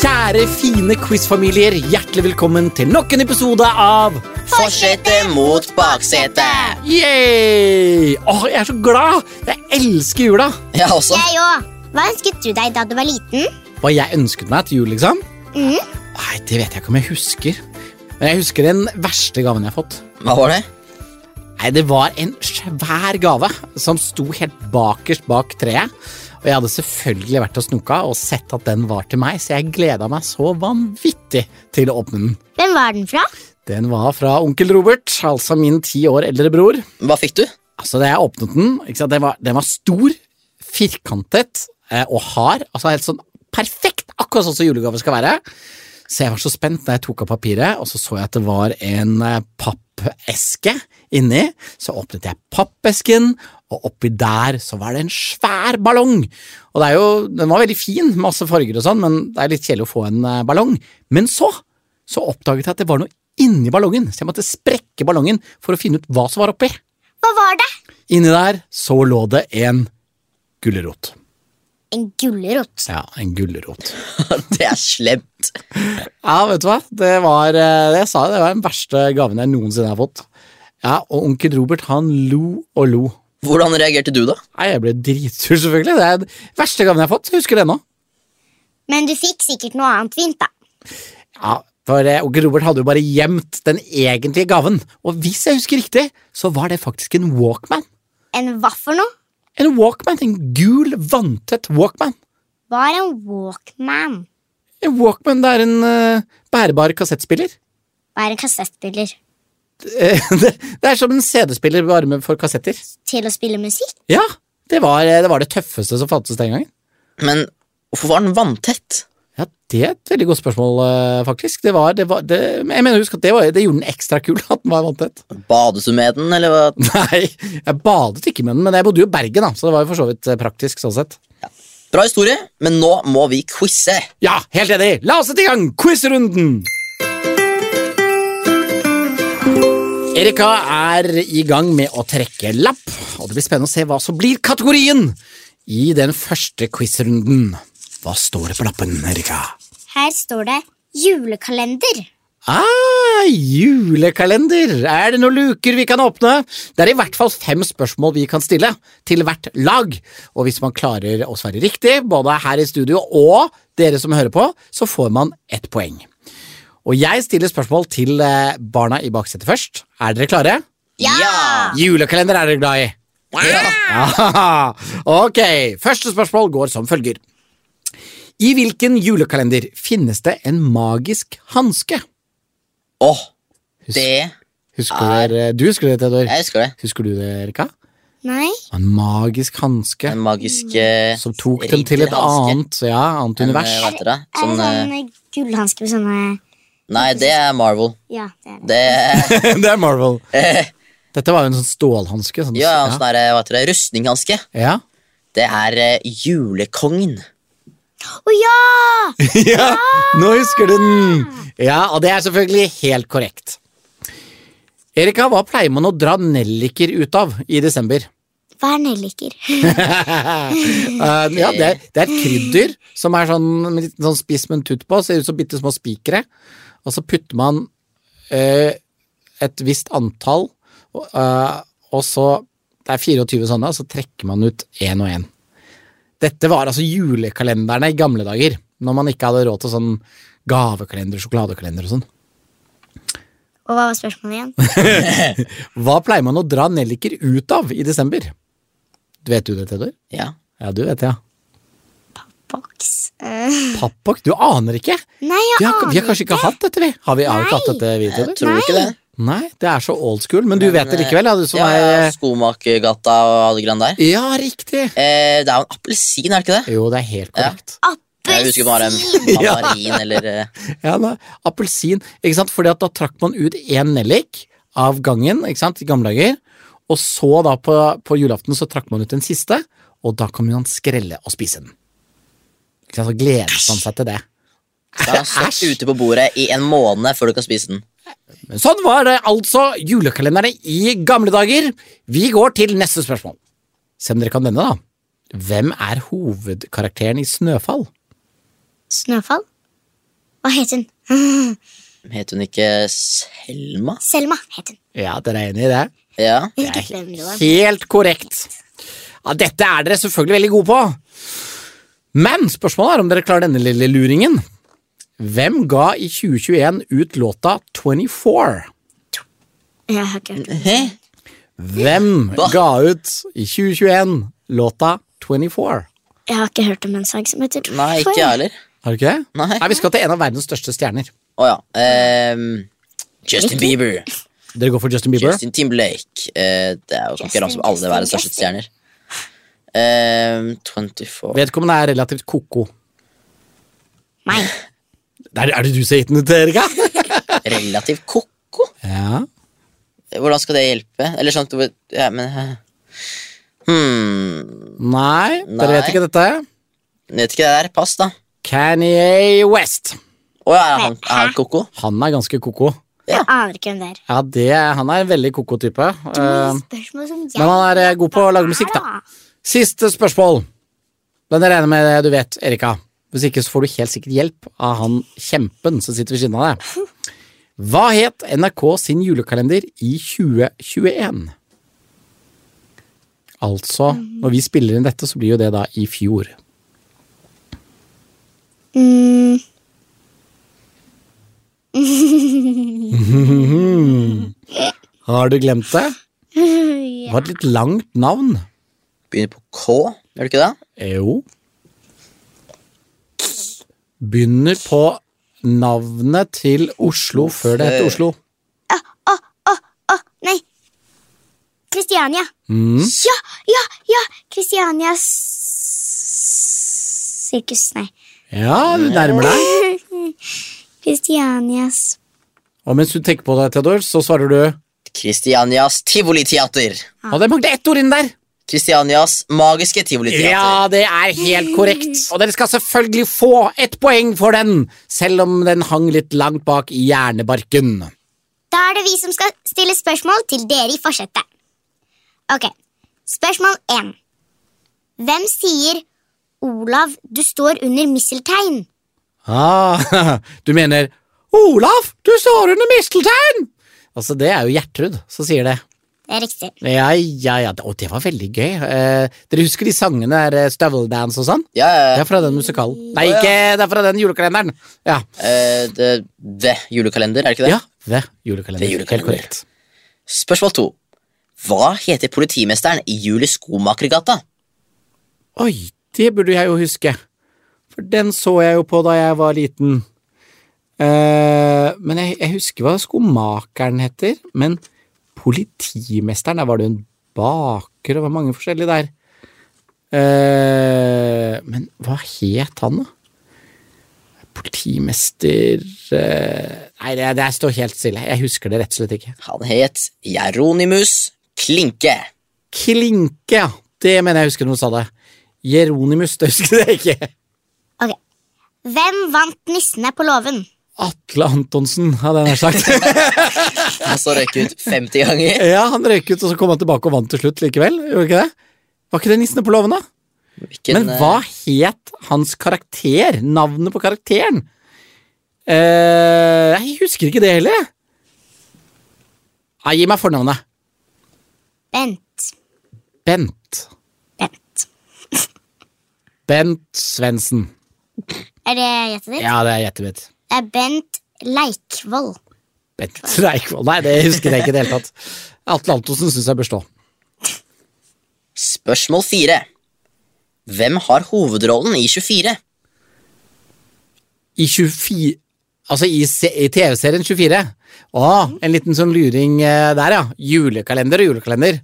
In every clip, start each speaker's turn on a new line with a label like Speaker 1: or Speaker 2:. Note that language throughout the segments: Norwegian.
Speaker 1: Kjære fine quizfamilier, hjertelig velkommen til nok en episode av
Speaker 2: Fortsette mot baksetet!
Speaker 1: Yay! Åh, jeg er så glad! Jeg elsker jula!
Speaker 2: Ja, også.
Speaker 3: Jeg òg. Hva ønsket du deg da du var liten?
Speaker 1: Hva jeg ønsket meg til jul, liksom?
Speaker 3: Mm.
Speaker 1: Nei, det vet jeg ikke om jeg husker. Men jeg husker den verste gaven jeg har fått.
Speaker 2: Hva var det?
Speaker 1: Nei, det var en svær gave som sto helt bakerst bak treet. Og jeg hadde selvfølgelig vært og snoka og sett at den var til meg, så jeg gleda meg så vanvittig til å åpne den.
Speaker 3: Hvem var den fra?
Speaker 1: Den var fra onkel Robert, altså min ti år eldre bror.
Speaker 2: Hva fikk du?
Speaker 1: Altså, da jeg åpnet den, ikke sant? Den, var, den var stor, firkantet eh, og hard. Altså helt sånn perfekt, akkurat sånn som julegave skal være. Så jeg var så spent da jeg tok av papiret, og så så jeg at det var en eh, pappeske inni. Så åpnet jeg pappesken, og oppi der så var det en svær ballong. Og det er jo, den var veldig fin, masse farger og sånn, men det er litt kjedelig å få en eh, ballong. Men så, så oppdaget jeg at det var noe inni ballongen, så jeg måtte sprekke ballongen for å finne ut hva som var oppi.
Speaker 3: Hva var det?
Speaker 1: Inni der så lå det en gulrot.
Speaker 3: En gulrot.
Speaker 1: Ja, en gulrot.
Speaker 2: Det er slemt.
Speaker 1: Ja, vet du hva? Det var eh, det jeg sa, det var den verste gaven jeg noensinne har fått. Ja, Og onkel Robert han lo og lo.
Speaker 2: Hvordan reagerte du, da?
Speaker 1: Nei, Jeg ble dritsur, selvfølgelig. Det er den verste gaven jeg har fått. Jeg husker det ennå.
Speaker 3: Men du fikk sikkert noe annet fint, da.
Speaker 1: Ja, for eh, onkel Robert hadde jo bare gjemt den egentlige gaven. Og hvis jeg husker riktig, så var det faktisk en Walkman.
Speaker 3: En hva for noe?
Speaker 1: En Walkman, En gul, vanntett Walkman.
Speaker 3: Var en Walkman.
Speaker 1: En Walkman, det er en eh, bærbar kassettspiller.
Speaker 3: Bare en kassettspiller.
Speaker 1: Eh, det, det er som en CD-spiller bare med for kassetter.
Speaker 3: Til å spille musikk?
Speaker 1: Ja, det var, eh, det var det tøffeste som fantes den gangen.
Speaker 2: Men hvorfor var den vanntett?
Speaker 1: Ja, Det er et veldig godt spørsmål, eh, faktisk. Det var, det var, det, men jeg mener, husk at det, var, det gjorde den ekstra kul at den var vanntett.
Speaker 2: Badet du med den, eller hva?
Speaker 1: Nei, jeg badet ikke med den, men jeg bodde jo i Bergen, da, så det var jo for så vidt eh, praktisk sånn sett.
Speaker 2: Bra historie, men nå må vi quize.
Speaker 1: Ja, helt enig! La oss sette i gang quizrunden! Erika er i gang med å trekke lapp, og det blir spennende å se hva som blir kategorien i den første quizrunden. Hva står det på lappen, Erika?
Speaker 3: Her står det julekalender.
Speaker 1: Ah, julekalender! Er det noen luker vi kan åpne? Det er i hvert fall fem spørsmål vi kan stille, til hvert lag. Og hvis man klarer å svare riktig, både her i studio og dere som hører på, så får man ett poeng. Og jeg stiller spørsmål til eh, barna i baksetet først. Er dere klare?
Speaker 3: Ja!
Speaker 1: Julekalender er dere glad i?
Speaker 2: Ja.
Speaker 1: Ja. Ok, første spørsmål går som følger. I hvilken julekalender finnes det en magisk hanske?
Speaker 2: Åh, det
Speaker 1: Husker du, du husker det, Theodor?
Speaker 2: Jeg husker det.
Speaker 1: Husker du det, Erika?
Speaker 3: Nei,
Speaker 1: En magisk hanske
Speaker 2: Den magiske
Speaker 1: som tok dem til et
Speaker 2: ridderhanske.
Speaker 1: annet, ja, annet
Speaker 2: Men,
Speaker 1: univers.
Speaker 2: eh, hva heter det?
Speaker 3: er det
Speaker 2: Sånn, eh,
Speaker 3: sånn eh, gullhanske med sånne
Speaker 2: nei, det er Marvel.
Speaker 3: Ja, det er det.
Speaker 2: Det
Speaker 1: det er Marvel.
Speaker 2: eh,
Speaker 1: Dette var jo en sånn stålhanske. Sånn,
Speaker 2: Ja, sånn der, eh, hva heter det? Rustninghanske.
Speaker 1: ja.
Speaker 2: Det er eh, julekongen.
Speaker 3: Å ja!
Speaker 1: ja, nå husker du den! Ja, og det er selvfølgelig helt korrekt. Erika, hva pleier man å dra nelliker ut av i desember?
Speaker 3: Hva er nelliker?
Speaker 1: Eh, ja, det, er, det er et krydder som er sånn, med litt sånn spiss med en tutt på, ser ut som bitte små spikere. Og så putter man eh, et visst antall, og, eh, og så Det er 24 sånne, og så trekker man ut én og én. Dette var altså julekalenderne i gamle dager, når man ikke hadde råd til sånn gavekalender, sjokoladekalender og sånn.
Speaker 3: Og hva var spørsmålet igjen?
Speaker 1: Hva pleier man å dra nelliker ut av i desember? Vet du det, Theodor?
Speaker 2: Ja.
Speaker 1: Ja, du vet det, ja.
Speaker 3: Boks. Eh,
Speaker 1: Pappok, du aner ikke!
Speaker 3: nei, jeg
Speaker 1: Vi har, vi
Speaker 3: aner
Speaker 1: har kanskje ikke hatt dette, vi? Har vi har vi ikke hatt dette, vi?
Speaker 2: Jeg
Speaker 1: Theodor?
Speaker 2: tror ikke det.
Speaker 1: Nei, det er så old school, men du vet det likevel, ja, du som
Speaker 2: ja,
Speaker 1: er eh,
Speaker 2: Skomakergata og alle greiene der.
Speaker 1: Ja, riktig!
Speaker 2: Eh, det er jo en appelsin, er det ikke det?
Speaker 1: Jo, det er helt korrekt.
Speaker 2: Jeg husker bare en
Speaker 3: Appelsin!
Speaker 2: mandarin eller eh,
Speaker 1: Ja, da, Appelsin, ikke sant? Fordi at da trakk man ut én nellik av gangen, ikke sant, i gamle dager. Og så da på, på julaften så trakk man ut den siste, og da kan man skrelle og spise den. Ikke sant, Så gledet man seg til det.
Speaker 2: Da har den stått ute på bordet i en måned før du kan spise den.
Speaker 1: Men sånn var det altså julekalenderne i gamle dager. Vi går til neste spørsmål. Se om dere kan denne, da. Hvem er hovedkarakteren i Snøfall?
Speaker 3: Snøfall? Hva het hun?
Speaker 2: Het hun ikke Selma?
Speaker 3: Selma het hun.
Speaker 1: Ja, dere er enig i det?
Speaker 2: Ja.
Speaker 1: Det
Speaker 3: Hvilket
Speaker 1: er
Speaker 3: levende det var.
Speaker 1: helt korrekt. Ja, dette er dere selvfølgelig veldig gode på. Men spørsmålet er om dere klarer denne lille luringen. Hvem ga i 2021 ut låta 24?
Speaker 3: Jeg har ikke hørt om det.
Speaker 2: Hæ?
Speaker 1: Hvem ga ut i 2021 låta 24?
Speaker 3: Jeg har ikke hørt om en sang som heter
Speaker 2: Nei, ikke jeg heller.
Speaker 1: Har du ikke det?
Speaker 2: Nei.
Speaker 1: Vi skal til en av verdens største stjerner.
Speaker 2: Å ja. ehm, Justin Bieber.
Speaker 1: Dere går for Justin Bieber.
Speaker 2: Justin Timberlake. eh, det er jo konkurranse om alle
Speaker 3: Justin,
Speaker 2: verdens største
Speaker 3: Justin.
Speaker 2: stjerner. Ehm, 24
Speaker 1: Vedkommende er relativt ko-ko.
Speaker 3: Meg.
Speaker 1: Det Er, er det du som har gitt den ut, Erika?
Speaker 2: Relativt ko-ko?
Speaker 1: ja.
Speaker 2: Hvordan skal det hjelpe? Eller sånn at du- ja, men, eh, hmm,
Speaker 1: Nei, dere
Speaker 2: Nei.
Speaker 1: vet ikke dette.
Speaker 2: Jeg vet ikke det der. Pass, da.
Speaker 1: Kanye West.
Speaker 2: Å ja, er han, er han ko-ko?
Speaker 1: Han er ganske ko-ko.
Speaker 3: Jeg aner ikke hvem det er.
Speaker 1: Ja, det, han er en veldig koko type. Eh,
Speaker 3: Spørsmål som jeg
Speaker 1: men han er eh, god på å lage musikk, da. Siste spørsmål. Den jeg regner med det du vet, Erika. Hvis ikke så får du helt sikkert hjelp av han kjempen som sitter ved siden av deg. Hva het NRK sin julekalender i 2021? Altså, når vi spiller inn dette, så blir jo det da i fjor.
Speaker 3: Mm.
Speaker 1: Har du glemt det? Det var et litt langt navn.
Speaker 2: Begynner på K, gjør det ikke det?
Speaker 1: Jo. Begynner på navnet til Oslo før det heter Oslo.
Speaker 3: Å, nei! Kristiania.
Speaker 1: Mm.
Speaker 3: Ja, ja, ja! Kristianias Sirkus, nei.
Speaker 1: Ja, du nærmer deg.
Speaker 3: Kristianias
Speaker 1: Og mens du tenker på det, Theodor, så svarer du
Speaker 2: Kristianias Tivoliteater.
Speaker 1: Å, det manglet ett ord inn der!
Speaker 2: Kristianias magiske Tivoliteater.
Speaker 1: Ja, det er helt korrekt. Og dere skal selvfølgelig få ett poeng for den, selv om den hang litt langt bak i hjernebarken.
Speaker 3: Da er det vi som skal stille spørsmål til dere i forsetet. Ok, spørsmål 1. Hvem sier 'Olav, du står under misteltein'?
Speaker 1: Ah, du mener Olaf, du står under misteltein! Altså, det er jo Gjertrud som sier det.
Speaker 3: Det er riktig.
Speaker 1: Ja, ja, ja, og det var veldig gøy. Eh, dere husker de sangene der, eh, Støveldance og sånn?
Speaker 2: Ja, ja,
Speaker 1: Det
Speaker 2: ja.
Speaker 1: er fra den musikalen. Nei, ikke, det er fra den julekalenderen. Ja,
Speaker 2: Eh, det, det julekalender, er det ikke det?
Speaker 1: ja ved julekalender.
Speaker 2: Ved julekalender.
Speaker 1: Helt korrekt.
Speaker 2: Spørsmål to. Hva heter politimesteren i Julius Skomakergata?
Speaker 1: Oi, det burde jeg jo huske. For den så jeg jo på da jeg var liten. Eh, men jeg, jeg husker hva skomakeren heter. Men politimesteren, der var det jo en baker og var mange forskjellige der. Eh, men hva het han, da? Politimester eh, Nei, det, det står helt stille. Jeg husker det rett og slett ikke.
Speaker 2: Han het Jeronimus Klinke.
Speaker 1: Klinke, ja. Det mener jeg husker noen sa det. Jeronimus, det husker jeg ikke.
Speaker 3: Ok, Hvem vant Nissene på låven?
Speaker 1: Atle Antonsen, hadde jeg nær sagt.
Speaker 2: Han så røyk ut 50 ganger.
Speaker 1: ja, han røyk ut, og så kom han tilbake og vant til slutt likevel. Gjorde ikke det? Var ikke det nissene på låven, da?
Speaker 2: Hvilken,
Speaker 1: Men hva het hans karakter? Navnet på karakteren? Eh, jeg husker ikke det heller. jeg. Nei, gi meg fornavnet.
Speaker 3: Bent.
Speaker 1: Bent.
Speaker 3: Bent.
Speaker 1: Bent Svendsen.
Speaker 3: Er det gjettet ditt?
Speaker 1: Ja, det er gjettet mitt.
Speaker 3: Det er Bent Leikvoll.
Speaker 1: Bent Reikvoll. Nei, det husker jeg ikke i det hele tatt. Atle Antonsen syns jeg bør stå.
Speaker 2: eh, Spørsmål fire. Hvem har hovedrollen i 24?
Speaker 1: I 24 Altså i, se- i TV-serien 24. Å, en liten sånn luring eh, der, ja. Julekalender og julekalender.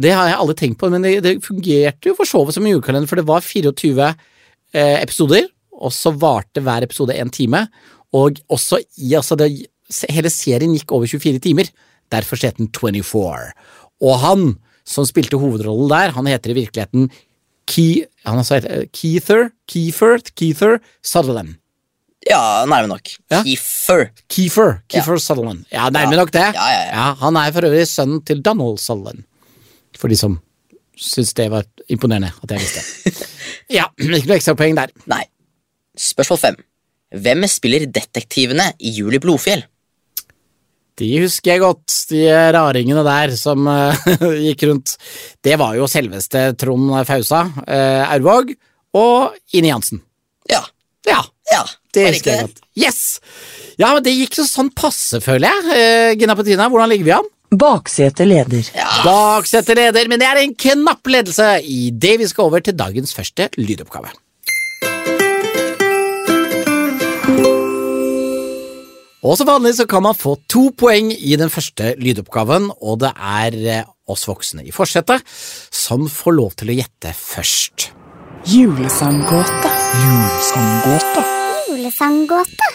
Speaker 1: Det har jeg aldri tenkt på, men det, det fungerte jo for så vidt som en julekalender, for det var 24 eh, episoder, og så varte hver episode en time. Og også i altså det, se- Hele serien gikk over 24 timer. Derfor het den 24. Og han som spilte hovedrollen der, han heter i virkeligheten Key, han altså heter, Keither, Keither, Keither Sutherland.
Speaker 2: Ja, nærme nok.
Speaker 1: Ja.
Speaker 2: Kiefer.
Speaker 1: Keefer, Keefer Sutherland. Ja, nærmer
Speaker 2: Ja.
Speaker 1: nok det.
Speaker 2: Ja, ja, ja.
Speaker 1: han er for øvrig sønnen til Donald Sutherland. For de som syns det var imponerende at jeg visste det. ja, ikke noe ekstrapoeng der.
Speaker 2: Nei. Spørsmål fem. Hvem spiller detektivene i Juli Blodfjell?
Speaker 1: De husker jeg godt, de raringene der som eh, gikk rundt. Det var jo selveste Trond Fausa eh, Aurvåg og Ine Jansen.
Speaker 2: Ja.
Speaker 1: Ja,
Speaker 2: ja.
Speaker 1: det
Speaker 2: var
Speaker 1: husker
Speaker 2: ikke
Speaker 1: jeg godt. Yes! Ja, men det gikk jo sånn passe, føler jeg. Eh, Gina Petrina, hvordan ligger vi an?
Speaker 4: Baksete leder.
Speaker 1: Dagsette leder, men det er en knapp ledelse idet vi skal over til dagens første lydoppgave. Og som vanlig så kan man få to poeng i den første lydoppgaven, og det er eh, oss voksne i forsetet som får lov til å gjette først.
Speaker 4: Julesanggåte.
Speaker 3: Julesanggåte.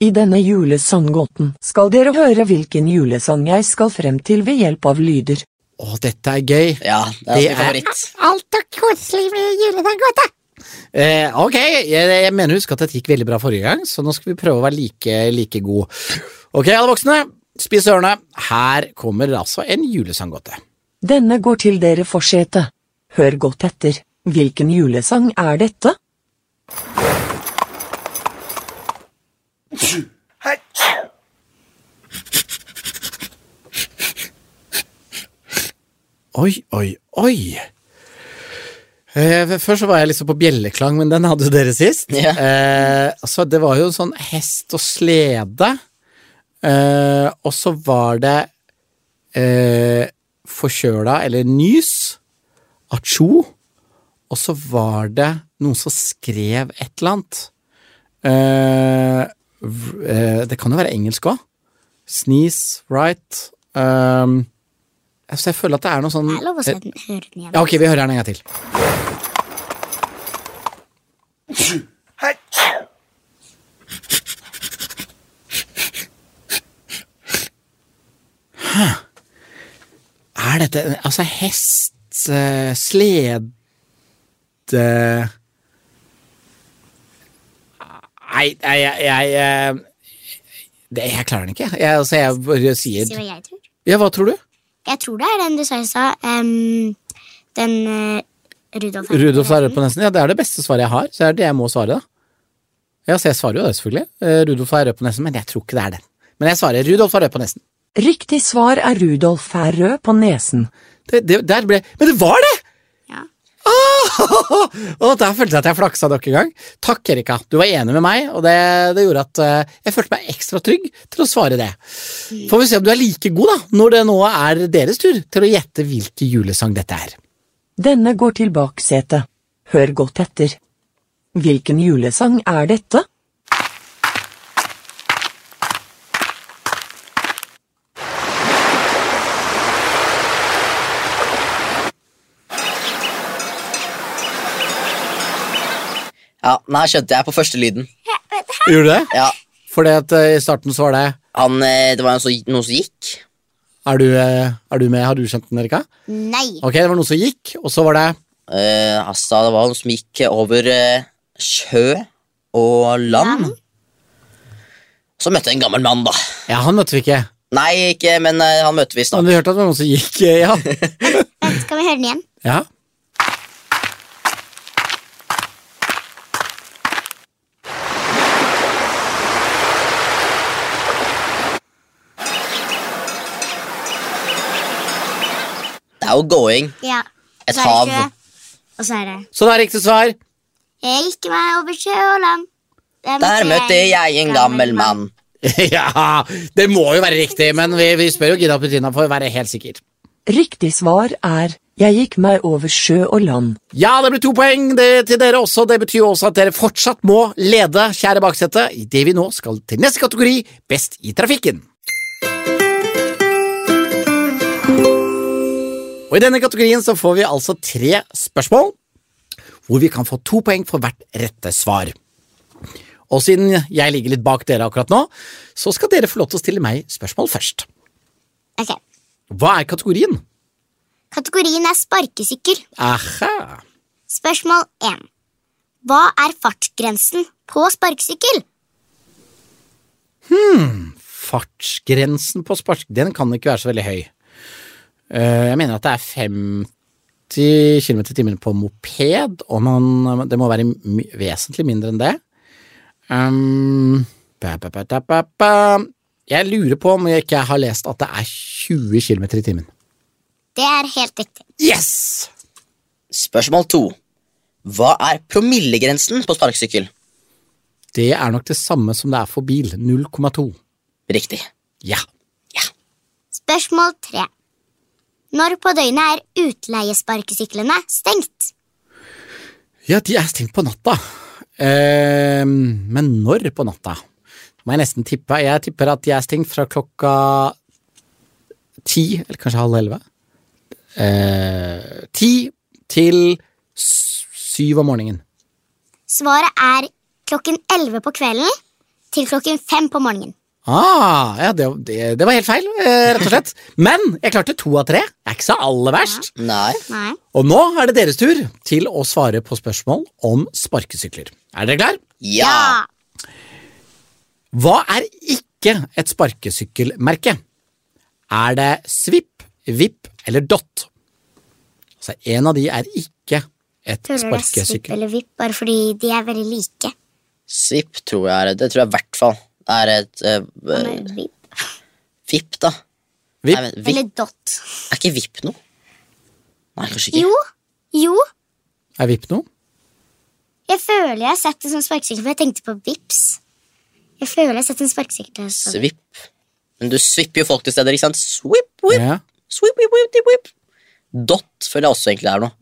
Speaker 4: I denne julesanggåten skal dere høre hvilken julesang jeg skal frem til ved hjelp av lyder.
Speaker 1: Å, dette er gøy.
Speaker 2: Ja, det er
Speaker 1: Det
Speaker 2: min
Speaker 1: er-
Speaker 2: favoritt.
Speaker 3: Alt er koselig med julesanggåte.
Speaker 1: Eh, ok, jeg, jeg mener husk at dette gikk veldig bra forrige gang, så nå skal vi prøve å være like, like god. Ok, alle voksne, spis ørene. Her kommer altså en julesanggåte.
Speaker 4: Denne går til dere forsete. Hør godt etter. Hvilken julesang er dette?
Speaker 1: Oi, oi, oi. Eh, først så var jeg liksom på bjelleklang, men den hadde jo dere sist.
Speaker 2: Ja.
Speaker 1: Eh, så det var jo en sånn hest og slede. Eh, og så var det eh, forkjøla, eller nys. Atsjo. Og så var det noen som skrev et eller annet. Eh, v- eh, det kan jo være engelsk òg. Sneeze, right. Um, så jeg føler at det er noe sånn
Speaker 3: Det er lov å se den, høre den igjen.
Speaker 1: ja, ok, vi hører den en gang til. Hæ? Er dette Altså, hest, eh, slede Nei, nei, jeg, jeg, eh, det, jeg klarer den ikke. Jeg, altså, jeg bare
Speaker 3: Si
Speaker 1: sier
Speaker 3: hva jeg tror.
Speaker 1: Ja, hva tror du?
Speaker 3: Jeg tror det er den du sa i stad. em, den eh, Rudolf er-
Speaker 1: Rudolf er rød på nesen. Ja, det er det beste svaret jeg har, så det er det jeg må svare, da. Ja, så jeg svarer jo det, selvfølgelig. Eh, Rudolf er rød på nesen, men jeg tror ikke det er den. Men jeg svarer Rudolf er rød på nesen.
Speaker 4: Riktig svar er Rudolf er rød på nesen.
Speaker 1: Det, det, der ble Men det var det!
Speaker 3: Ja.
Speaker 1: Og der følte jeg at jeg flaksa nok en gang. Takk, Erika. Du var enig med meg, og det, det gjorde at eh, jeg følte meg ekstra trygg til å svare det. Får vi se om du er like god, da, når det nå er deres tur til å gjette hvilken julesang dette er.
Speaker 4: Denne går til baksetet. Hør godt etter. Hvilken julesang er dette?
Speaker 2: Ja, Nei, skjønte jeg på første lyden.
Speaker 1: Gjorde du det?
Speaker 2: Ja,
Speaker 1: Fordi at eh, i starten så var det
Speaker 2: han, eh, Det var en som- noen som gikk.
Speaker 1: Er du, eh, er du med? Har du skjønt den, Erika?
Speaker 3: Nei.
Speaker 1: Ok, det var noen som gikk, og så var det
Speaker 2: Eh, altså, det var noen som gikk over eh, sjø og land. Så møtte jeg en gammel mann, da.
Speaker 1: Ja, han møtte vi ikke.
Speaker 2: Nei, ikke, men eh, han møter
Speaker 1: Men
Speaker 2: vi snart.
Speaker 1: vi hørte at det var noen som gikk, eh, ja.
Speaker 3: Vent, Skal vi høre den igjen?
Speaker 1: ja.
Speaker 2: Det er jo going.
Speaker 3: Ja.
Speaker 2: Et
Speaker 3: Så er det
Speaker 2: hav.
Speaker 3: sjø, Og så er det
Speaker 1: Så det er riktig svar.
Speaker 3: Jeg gikk meg over sjø og land.
Speaker 2: Der møtte jeg en gammel mann.
Speaker 1: ja, det må jo være riktig, men vi, vi spør jo Gina Petrina for å være helt sikker.
Speaker 4: Riktig svar er Jeg gikk meg over sjø og land.
Speaker 1: Ja, det blir to poeng det, til dere også. Det betyr jo også at dere fortsatt må lede, kjære baksete, idet vi nå skal til neste kategori, Best i trafikken. Og I denne kategorien så får vi altså tre spørsmål, hvor vi kan få to poeng for hvert rette svar. Og siden jeg ligger litt bak dere akkurat nå, så skal dere få lov til å stille meg spørsmål først.
Speaker 3: Ok,
Speaker 1: Hva er kategorien?
Speaker 3: Kategorien er sparkesykkel.
Speaker 1: Aha.
Speaker 3: Spørsmål 1. Hva er fartsgrensen på sparkesykkel?
Speaker 1: fartsgrensen på spark... Den kan ikke være så veldig høy. Eh, Jeg mener at det er 50 km i timen på moped, og man, det må være mi- vesentlig mindre enn det. Ehm, ba, ba, ba, da, ba, ba. Jeg lurer på om jeg ikke har lest at det er 20 km i timen.
Speaker 3: Det er helt riktig.
Speaker 1: Yes!
Speaker 2: Spørsmål to. Hva er promillegrensen på sparkesykkel?
Speaker 1: Det er nok det samme som det er for bil. 0,2.
Speaker 2: Riktig.
Speaker 1: Ja.
Speaker 3: Spørsmål tre. Når på døgnet er utleiesparkesyklene stengt?
Speaker 1: Ja, de er stengt på natta. Ehm, men når på natta? Det må jeg nesten tippe. Jeg tipper at de er stengt fra klokka ti, eller kanskje halv elleve. Eh, Ti til s- syv om morgenen.
Speaker 3: Svaret er klokken 11 på kvelden til klokken 5 på morgenen.
Speaker 1: Ah, ja, det, det, det var helt feil, eh, rett og slett. Men jeg klarte to av tre. Det er ikke så aller verst.
Speaker 2: Nei.
Speaker 3: Nei.
Speaker 1: Og nå er det deres tur til å svare på spørsmål om sparkesykler. Er dere klar?
Speaker 2: Ja.
Speaker 1: Hva er ikke et sparkesykkelmerke? Er det Svipp, Vipp eller Dott? Altså, en av de er ikke
Speaker 3: Føler
Speaker 1: et
Speaker 3: det er svipp
Speaker 1: sparkesykkel.
Speaker 3: eller vipp, bare fordi de er veldig
Speaker 2: Eh,
Speaker 3: like.
Speaker 2: Svipp tror jeg er det. Det tror jeg i hvert fall. Det er et eh, eh,
Speaker 3: Eller vipp.
Speaker 2: Vipp, da. Nei,
Speaker 1: Vipp?
Speaker 2: men, vipp.
Speaker 3: Eller dot.
Speaker 2: Er ikke vipp noe? Nei, kanskje ikke.
Speaker 3: Jo, jo.
Speaker 1: Er Vipp noe?
Speaker 3: Jeg føler jeg har sett det som sparkesykkel, for jeg tenkte på vips. Jeg føler jeg har sett en sparkesykkel. som-
Speaker 2: Svipp. Men du svipper jo folk til steder, ikke sant? Swipp, whip,
Speaker 1: Ja.
Speaker 2: swipp, whip, whip, whip, whip. Dot føler jeg også egentlig er noe.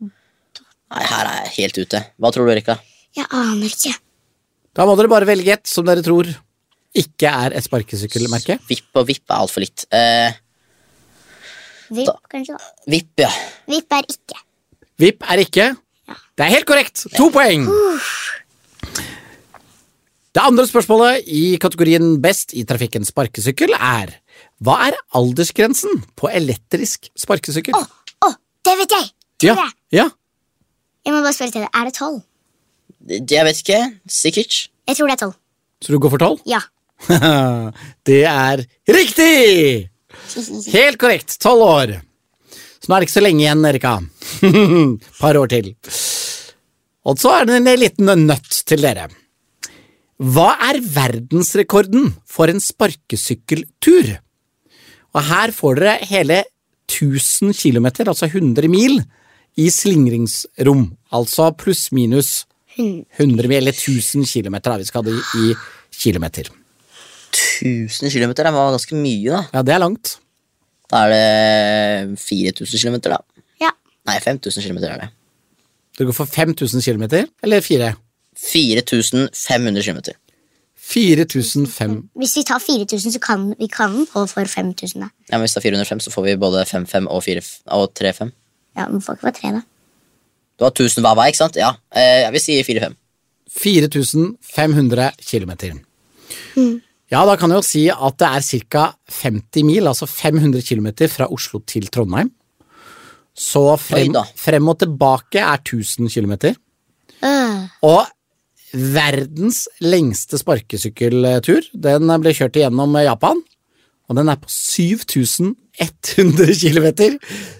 Speaker 2: Nei, her er jeg helt ute. Hva tror du, Erika?
Speaker 3: Jeg aner ikke.
Speaker 1: Da må dere bare velge et som dere tror ikke er et sparkesykkelmerke.
Speaker 2: Vipp og vipp er altfor litt. Eh,
Speaker 3: Vipp, kanskje. da.
Speaker 2: vipp, ja.
Speaker 3: Vipp er ikke.
Speaker 1: Vipp er ikke. Det er helt korrekt. To poeng. Det andre spørsmålet i kategorien Best i trafikken sparkesykkel er Hva er aldersgrensen på elektrisk sparkesykkel?
Speaker 3: Å, å, det vet jeg! Tror
Speaker 1: ja,
Speaker 3: jeg.
Speaker 1: ja.
Speaker 3: Jeg må bare spørre til det. Er det tolv?
Speaker 2: Jeg vet ikke. Sikkert.
Speaker 3: Jeg tror det er tolv.
Speaker 1: Så du går for tolv?
Speaker 3: Ja.
Speaker 1: det er riktig! Helt korrekt. Tolv år. Så nå er det ikke så lenge igjen, Erika. Par år til. Og så er det en liten nøtt til dere. Hva er verdensrekorden for en sparkesykkeltur? Og her får dere hele 1000 km, altså 100 mil, i slingringsrom. Altså pluss-minus 100 mil, eller 1000 km, da. Vi skal ha det i kilometer.
Speaker 2: 1000 km det var ganske mye, da.
Speaker 1: Ja, det er langt.
Speaker 2: Da er det 4000 km, da.
Speaker 3: ja.
Speaker 2: Nei, 5000 km er det.
Speaker 1: Du går for 5000 km, eller fire?
Speaker 2: 4500 km.
Speaker 1: 4500.
Speaker 3: Hvis vi tar 4000, så kan vi kan den på for 5000. da.
Speaker 2: Ja, men Hvis det er 405, så får vi både 55 og, 4, og 35.
Speaker 3: Ja, men får ikke være tre, da.
Speaker 2: Du har 1000 hver vei, ikke sant? Ja, eh, vi sier 45.
Speaker 1: 4500 km. Ja, da kan jeg jo si at det er ca. 50 mil, altså 500 km fra Oslo til Trondheim. Så frem,
Speaker 2: Oi da.
Speaker 1: frem og tilbake er 1000 km.
Speaker 3: Øh,
Speaker 1: Og verdens lengste sparkesykkeltur, den ble kjørt igjennom Japan. Og den er på 7100 km.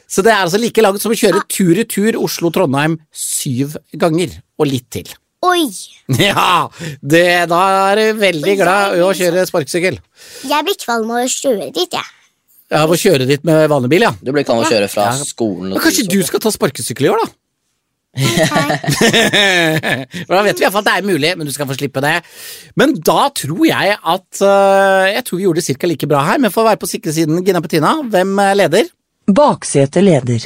Speaker 1: Så det er altså like langt som å kjøre tur-retur Oslo-Trondheim syv ganger. Og litt til.
Speaker 3: Oi!
Speaker 1: Ja! Det, da er du veldig glad i å kjøre sparkesykkel.
Speaker 3: Jeg blir kvalm av å kjøre dit, jeg.
Speaker 1: Ja, Av å kjøre dit med vanlig bil, ja.
Speaker 2: Du blir klar å kjøre fra skolen.
Speaker 1: Men kanskje du skal ta sparkesykkel i år, da?
Speaker 3: Nei,
Speaker 1: For Da vet vi iallfall at det er mulig, men du skal få slippe det. Men da tror jeg at øh, Jeg tror vi gjorde det cirka like bra her, men for å være på sikre siden, Gina Petina, hvem øh, leder?
Speaker 4: Baksete leder.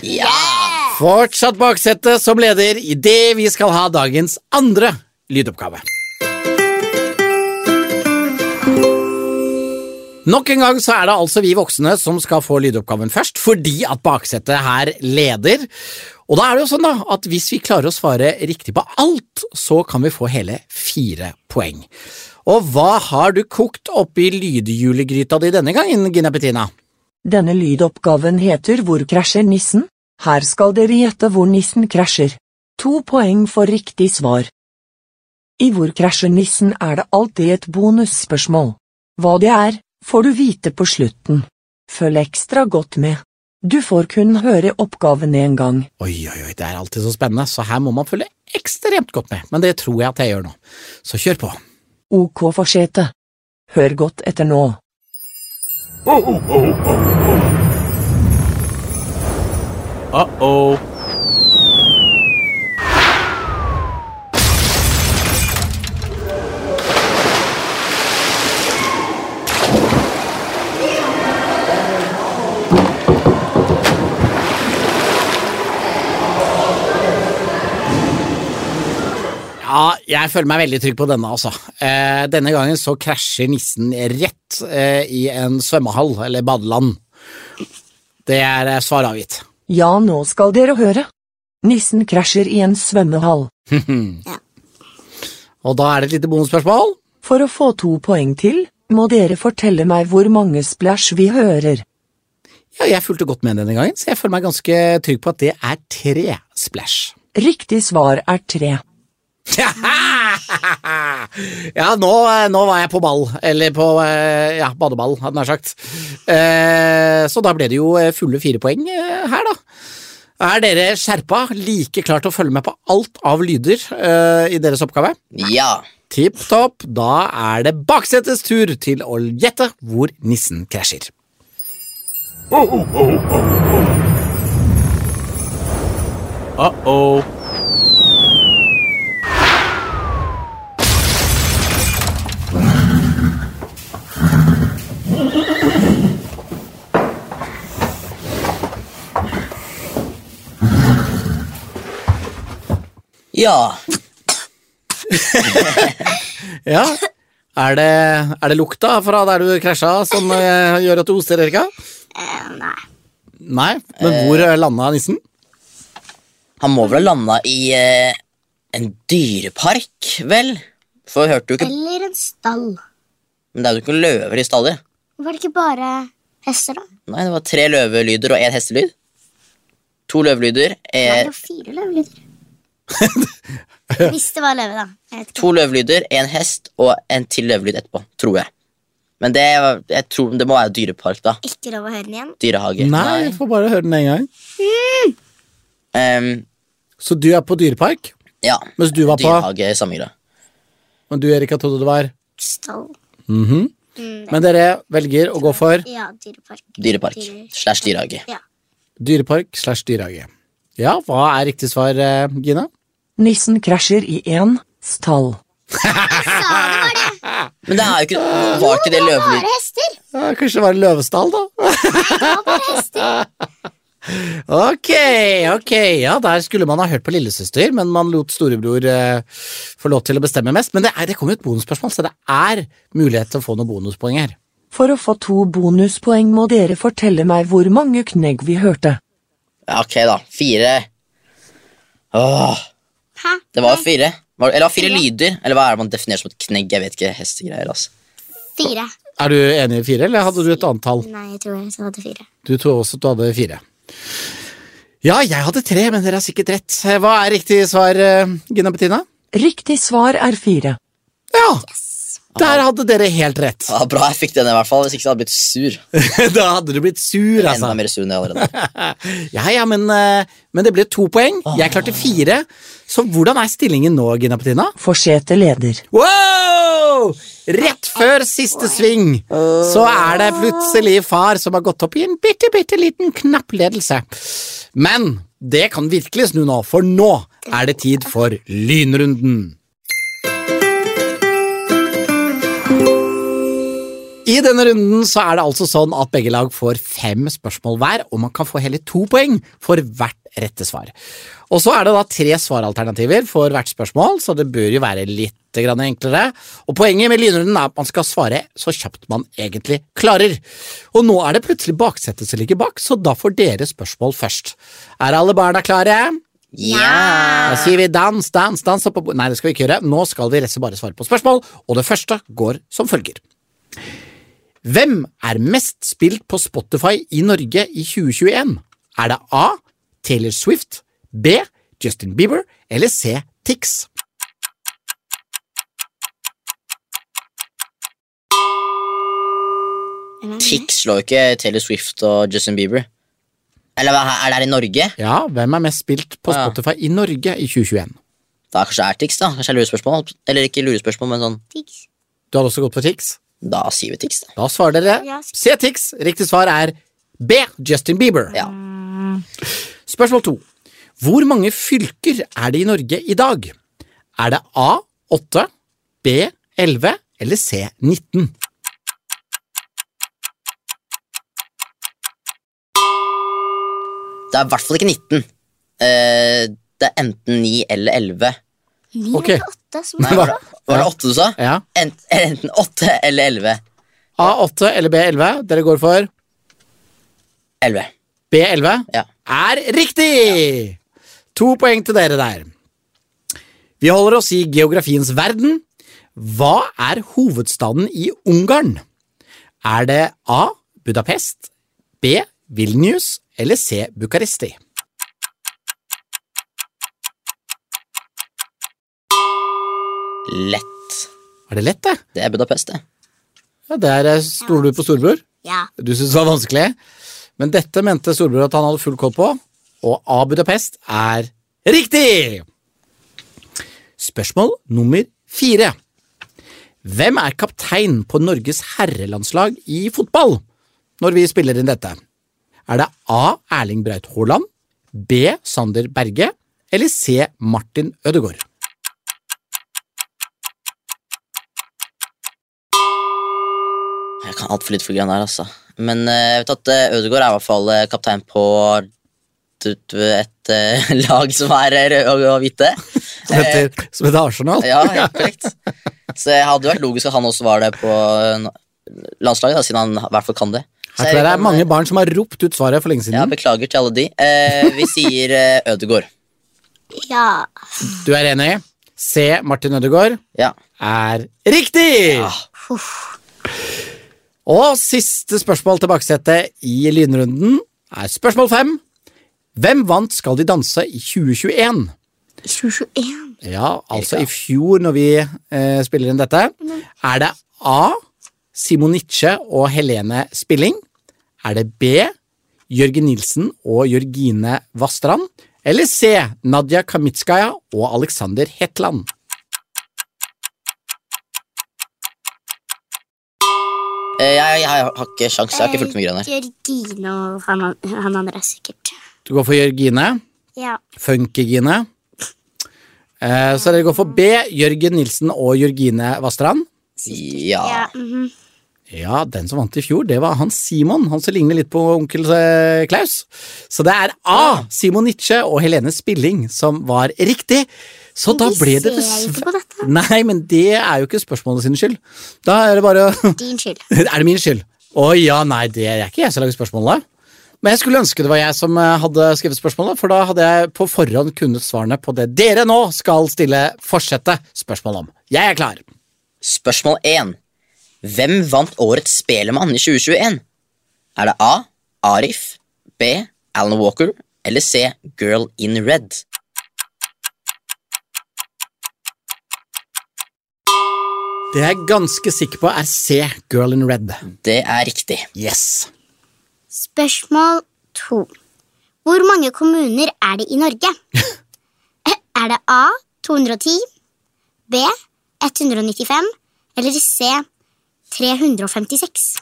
Speaker 1: Fortsatt baksetet som leder idet vi skal ha dagens andre lydoppgave. Nok en gang så er det altså vi voksne som skal få lydoppgaven først, fordi at baksetet her leder. Og da er det jo sånn da, at hvis vi klarer å svare riktig på alt, så kan vi få hele fire poeng. Og hva har du kokt oppi lydjulegryta di denne gangen, Gina Petina?
Speaker 4: Denne lydoppgaven heter Hvor krasjer nissen? Her skal dere gjette hvor nissen krasjer. To poeng for riktig svar. I Hvor krasjer nissen er det alltid et bonusspørsmål. Hva det er, får du vite på slutten. Følg ekstra godt med. Du får kun høre oppgaven én gang.
Speaker 1: Oi, oi, oi, det er alltid så spennende, så her må man følge ekstremt godt med, men det tror jeg at jeg gjør nå. Så kjør på.
Speaker 4: OK forsete. Hør godt etter nå.
Speaker 5: Uh-oh.
Speaker 1: Ja, jeg føler meg veldig trygg på denne, altså. Eh, denne gangen så krasjer nissen rett eh, i en svømmehall, eller badeland. Det er eh, svar avgitt.
Speaker 4: Ja, nå skal dere høre. Nissen krasjer i en svømmehall.
Speaker 1: Og da er det et lite bonusspørsmål.
Speaker 4: For å få to poeng til, må dere fortelle meg hvor mange splæsj vi hører.
Speaker 1: Ja, jeg fulgte godt med denne gangen, så jeg føler meg ganske trygg på at det er tre splash.
Speaker 4: Riktig svar er tre.
Speaker 1: ja, nå, eh, nå var jeg på ball, eller på eh, ja, badeball, hadde jeg nær sagt. Eh, Så da ble det jo eh, fulle fire poeng eh, her, da. Er dere skjerpa, like klar til å følge med på alt av lyder eh, i deres oppgave?
Speaker 2: Ja.
Speaker 1: Tipp topp, da er det baksetets tur til å gjette hvor nissen krasjer.
Speaker 5: Uh-oh.
Speaker 2: Ja.
Speaker 1: Ja, Er det, er det lukta fra der du krasja som eh, gjør at du hoster, Erika?
Speaker 3: Eh, nei.
Speaker 1: Nei, men hvor eh, landa nissen?
Speaker 2: Han må vel ha landa i eh, en dyrepark, vel? For vi hørte jo ikke
Speaker 3: Eller en stall.
Speaker 2: Men det er jo ikke løver i stallet.
Speaker 3: Var det ikke bare hester, da?
Speaker 2: Nei, det var tre løvelyder og én hestelyd. To løvelyder.
Speaker 3: Nei,
Speaker 2: Eh,
Speaker 3: det var fire løvelyder. Hvis det var løve, da. Jeg vet ikke.
Speaker 2: to løvelyder, én hest og en til løvelyd etterpå, tror jeg. Men det, var- jeg tror, det må være dyrepark, da.
Speaker 3: Ikke lov å høre den igjen.
Speaker 2: Dyrehage.
Speaker 1: Nei, får bare høre den en gang.
Speaker 2: Ehm,
Speaker 1: Så du er på dyrepark,
Speaker 2: ja.
Speaker 1: mens du var på
Speaker 2: Dyrehage i samme grad.
Speaker 1: Men du, Erika, trodde det var
Speaker 3: Stall.
Speaker 1: Men dere velger å gå for
Speaker 3: Ja, dyrepark.
Speaker 2: Dyrepark
Speaker 3: Dyre-
Speaker 2: slash dyrehage.
Speaker 3: Ja.
Speaker 1: dyrepark slash dyrehage. Ja, hva er riktig svar, eh, Gina?
Speaker 4: Nissen krasjer i en stall.
Speaker 2: Men det er jo ikke Var ikke det løvelyd
Speaker 3: Bare hester!
Speaker 1: Ja, kanskje det var en løvestall, da? ok, ok. Ja, der skulle man ha hørt på lillesøster, men man lot storebror eh, få lov til å bestemme mest. Men det, er, det kom jo et bonusspørsmål, så det er mulighet til å få noen bonuspoeng her.
Speaker 4: For å få to bonuspoeng må dere fortelle meg hvor mange knegg vi hørte.
Speaker 2: Ja, ok, da. Fire. Åh,
Speaker 3: Hæ?
Speaker 2: det var fire. Var- Eller det var fire lyder. Eller hva er det man definerer som et knegg? Jeg vet ikke. Hestegreier, altså.
Speaker 3: Fire.
Speaker 1: Er du enig i fire, eller hadde du et annet tall?
Speaker 3: Nei, jeg tror jeg hadde fire.
Speaker 1: Du tror også at du hadde fire. Ja, jeg hadde tre, men dere har sikkert rett. Hva er riktig svar, eh, Gina Bettina?
Speaker 4: Riktig svar er fire.
Speaker 1: Ja! Der hadde dere helt rett.
Speaker 2: Ja, bra jeg fikk den, i hvert fall. Hvis ikke så hadde jeg blitt sur.
Speaker 1: Da hadde du blitt sur, altså.
Speaker 2: Enda mer sur enn jeg allerede.
Speaker 1: Ja, ja, men, eh, men det ble to poeng. Jeg klarte fire. Så hvordan er stillingen nå, Gina Bettina?
Speaker 4: Forsete leder.
Speaker 1: Wow! Rett før siste sving så er det plutselig far som har gått opp i en bitte, bitte liten knappledelse. Men det kan virkelig snu nå, for nå er det tid for lynrunden. I denne runden så er det altså sånn at begge lag får fem spørsmål hver, og man kan få hele to poeng for hvert rette svar. Og så er det da tre svaralternativer for hvert spørsmål, så det bør jo være litt grann enklere. Og poenget med lynrunden er at man skal svare så kjapt man egentlig klarer. Og nå er det plutselig baksetet som ligger bak, så da får dere spørsmål først. Er alle barna klare?
Speaker 2: Ja!
Speaker 1: Da sier vi dans, dans, dans opp på bordet. Nei, det skal vi ikke gjøre. Nå skal vi rett og slett bare svare på spørsmål, og det første går som følger. Hvem er mest spilt på Spotify i Norge i 2021? Er det A. Taylor Swift, B. Justin Bieber eller C. Tix?
Speaker 2: Tix Mm-hmm. slår jo ikke Taylor Swift og Justin Bieber. Eller hva, er det her i Norge?
Speaker 1: Ja, hvem er mest spilt på
Speaker 2: Ja.
Speaker 1: Spotify i Norge i 2021?
Speaker 2: Da kanskje det er Tix, da. Kanskje det er lurespørsmål. Eller ikke lurespørsmål, men sånn
Speaker 3: Diggs.
Speaker 1: Du hadde også gått for Tix?
Speaker 2: Da sier vi Tix, da.
Speaker 1: Da svarer dere
Speaker 3: Ja.
Speaker 1: C. Tix. Riktig svar er B. Justin Bieber.
Speaker 2: Ja.
Speaker 1: Spørsmål to. Hvor mange fylker er det i Norge i dag? Er det A 8, B 11 eller C 19?
Speaker 2: Det er i hvert fall ikke 19. Eh, det er enten 9 eller 11.
Speaker 3: Ni
Speaker 1: Ok.
Speaker 3: eller åtte som
Speaker 2: Nei,
Speaker 3: er
Speaker 2: var,
Speaker 3: bra.
Speaker 2: var det 8 du sa?
Speaker 1: Ja.
Speaker 2: Ent, enten 8 eller 11.
Speaker 1: A 8 eller B 11? Dere går for
Speaker 2: 11.
Speaker 1: B 11?
Speaker 2: Ja.
Speaker 1: Er riktig! To poeng til dere der. Vi holder oss i geografiens verden. Hva er hovedstaden i Ungarn? Er det A. Budapest, B. Vilnius eller C. Bucuresti?
Speaker 2: Lett.
Speaker 1: Var det lett, det?
Speaker 2: Det er Budapest, det.
Speaker 1: Ja, Der eh, stoler du på storebror.
Speaker 3: Ja.
Speaker 1: Du syntes det var vanskelig. Men dette mente storebror at han hadde full koll på, og A. Budapest er riktig! Spørsmål nummer fire. Hvem er kaptein på Norges herrelandslag i fotball når vi spiller inn dette? Er det A. Erling Braut Haaland, B. Sander Berge eller C. Martin Ødegaard?
Speaker 2: Jeg kan altfor litt for greiene her, altså. Men eh, jeg vet at eh, Ødegaard er i hvert fall eh, kaptein på du- du- et eh, lag som er eh, røde og- og hvite.
Speaker 1: Som heter, som heter Arsenal?
Speaker 2: Ja, helt korrekt. Så det hadde vært logisk at han også var det på eh, landslaget, da, siden han i hvert fall kan det. Så
Speaker 1: Her
Speaker 2: jeg
Speaker 1: tror jeg det
Speaker 2: kan-
Speaker 1: er mange barn som har ropt ut svaret for lenge siden.
Speaker 2: Ja, beklager til alle de. Eh, vi sier eh, Ødegaard.
Speaker 3: ja.
Speaker 1: Du er enig? C. Martin Ødegaard
Speaker 2: Ja.
Speaker 1: er riktig! Og siste spørsmål til baksetet i lynrunden er spørsmål fem. Hvem vant Skal de danse i 2021?
Speaker 3: 2021.
Speaker 1: Ja, altså i fjor når vi eh, spiller inn dette. Er det A. Simoniche og Helene Spilling? Er det B. Jørgen Nilsen og Jørgine Vastrand? Eller C. Nadia Kamitskaja og Alexander Hetland?
Speaker 2: Eh, jeg, jeg har ikke sjans, jeg har ikke fulgt med greiene. her.
Speaker 3: Jørgine Eh, og han, han andre er sikkert.
Speaker 1: Du går for Jørgine.
Speaker 3: Ja.
Speaker 1: Funkygine. Eh, så dere går for B. Jørgen Nilsen og Jørgine Vastrand.
Speaker 2: Ja.
Speaker 3: ja mhm.
Speaker 1: Ja, den som vant i fjor, det var han Simon. Han som ligner litt på onkel eh, Klaus. Så det er A. Simon Nitsche og Helene Spilling som var riktig. Så da
Speaker 3: Vi
Speaker 1: ble det
Speaker 3: ser jo ikke
Speaker 1: dessverre
Speaker 3: på dette.
Speaker 1: Nei, men det er jo ikke spørsmålet sin skyld. Da er det bare å
Speaker 3: Din skyld.
Speaker 1: Er det min skyld? Å ja, nei, det er ikke jeg som lager spørsmålene. Men jeg skulle ønske det var jeg som eh, hadde skrevet spørsmålene, for da hadde jeg på forhånd kunnet svarene på det dere nå skal stille fortsette spørsmål om. Jeg er klar.
Speaker 2: Spørsmål 1. Hvem vant årets Spelemann i 2021? Er det A. Arif, B. Alan Walker eller C. Girl in Red?
Speaker 1: Det jeg er ganske sikker på er C, Girl in Red.
Speaker 2: Det er riktig.
Speaker 1: Yes.
Speaker 3: Spørsmål to. Hvor mange kommuner er det i Norge? er det A 210, B 195 eller C 356?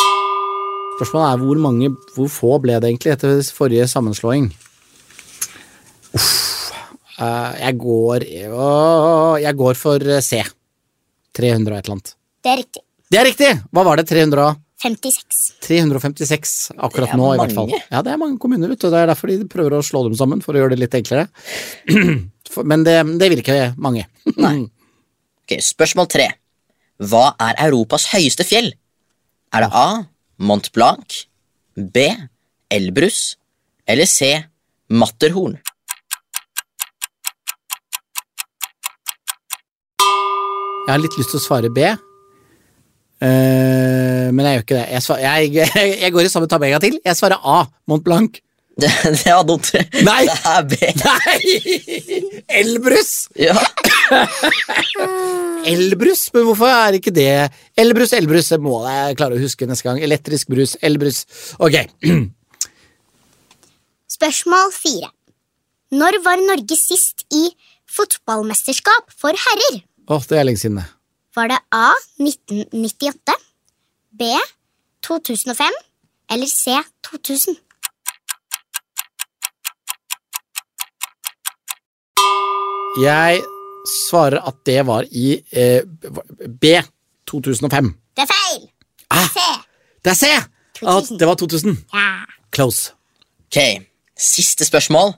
Speaker 1: Spørsmålet er hvor mange, hvor få ble det egentlig etter forrige sammenslåing? Uff. Eh, jeg går Åh, Jeg går for eh, C. 300 og et eller annet.
Speaker 3: Det er riktig.
Speaker 1: Det er riktig! Hva var det? 300 og
Speaker 3: 56.
Speaker 1: 356 akkurat
Speaker 2: Det er
Speaker 1: nå, i hvert fall.
Speaker 2: mange.
Speaker 1: Ja, det er mange kommuner, vet du. Det er derfor de prøver å slå dem sammen, for å gjøre det litt enklere. For- Men det, det vil ikke mange.
Speaker 2: Ok, spørsmål 3. Hva er Europas høyeste fjell? Er det A. Mont Blanc, B. Elbrus eller C. Matterhorn?
Speaker 1: Jeg har litt lyst til å svare B. Eh, men jeg gjør ikke det. Jeg, svar, jeg, jeg går i samme tabega til. Jeg svarer A. Mont Blanc.
Speaker 2: Det, det var dumt.
Speaker 1: Nei.
Speaker 2: Det er B.
Speaker 1: Nei! Elbrus!
Speaker 2: Ja.
Speaker 1: Elbrus? Men hvorfor er ikke det Elbrus, Elbrus, det må jeg klare å huske neste gang. Elektrisk brus, Elbrus. Ok.
Speaker 3: Spørsmål fire. Når var Norge sist i Fotballmesterskap for herrer.
Speaker 1: Åh, det er lenge siden, det.
Speaker 3: Var det A 1998, B 2005 eller C 2000?
Speaker 1: Jeg svarer at det var i eh, B 2005.
Speaker 3: Det er feil!
Speaker 1: Ah,
Speaker 3: C.
Speaker 1: det er C! At
Speaker 3: 2000.
Speaker 1: det var 2000.
Speaker 3: Ja.
Speaker 1: Close.
Speaker 2: Ok, Siste spørsmål.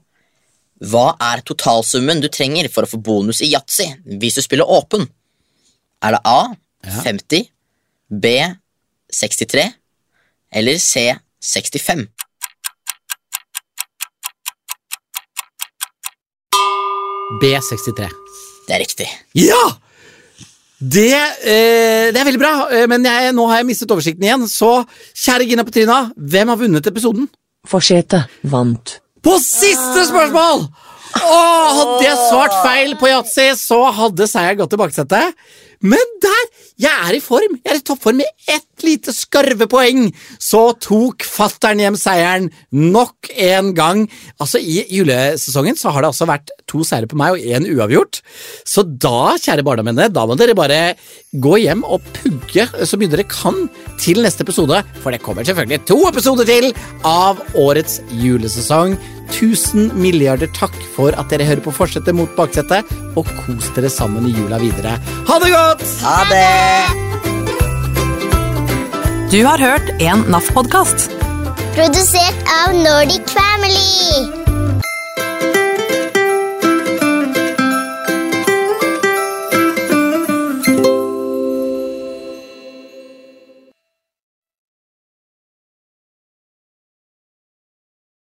Speaker 2: Hva er totalsummen du trenger for å få bonus i yatzy hvis du spiller åpen? Er det A 50, B 63 eller C 65?
Speaker 1: B63.
Speaker 2: Det er riktig.
Speaker 1: Ja! Det, eh, det er veldig bra, eh, men jeg, nå har jeg mistet oversikten igjen. Så kjære Gina Petrina, hvem har vunnet episoden?
Speaker 4: Forsete vant.
Speaker 1: På siste spørsmål! Åh, hadde jeg svart feil på yatzy, så hadde seieren gått til baksetet. Men der! Jeg er i form. Jeg er i toppform med ett lite skarvepoeng. Så tok fattern hjem seieren nok en gang. Altså, I julesesongen så har det altså vært to seire på meg og én uavgjort. Så da, kjære barndomsvenner, da må dere bare gå hjem og pugge så mye dere kan til neste episode, for det kommer selvfølgelig to episoder til av årets julesesong. Tusen milliarder takk for at dere hører på Forsetet mot baksetet, og kos dere sammen i jula videre. Ha det godt!
Speaker 2: Ha det!
Speaker 5: Du har hørt en NAF-podkast.
Speaker 3: Produsert av Nordic Family.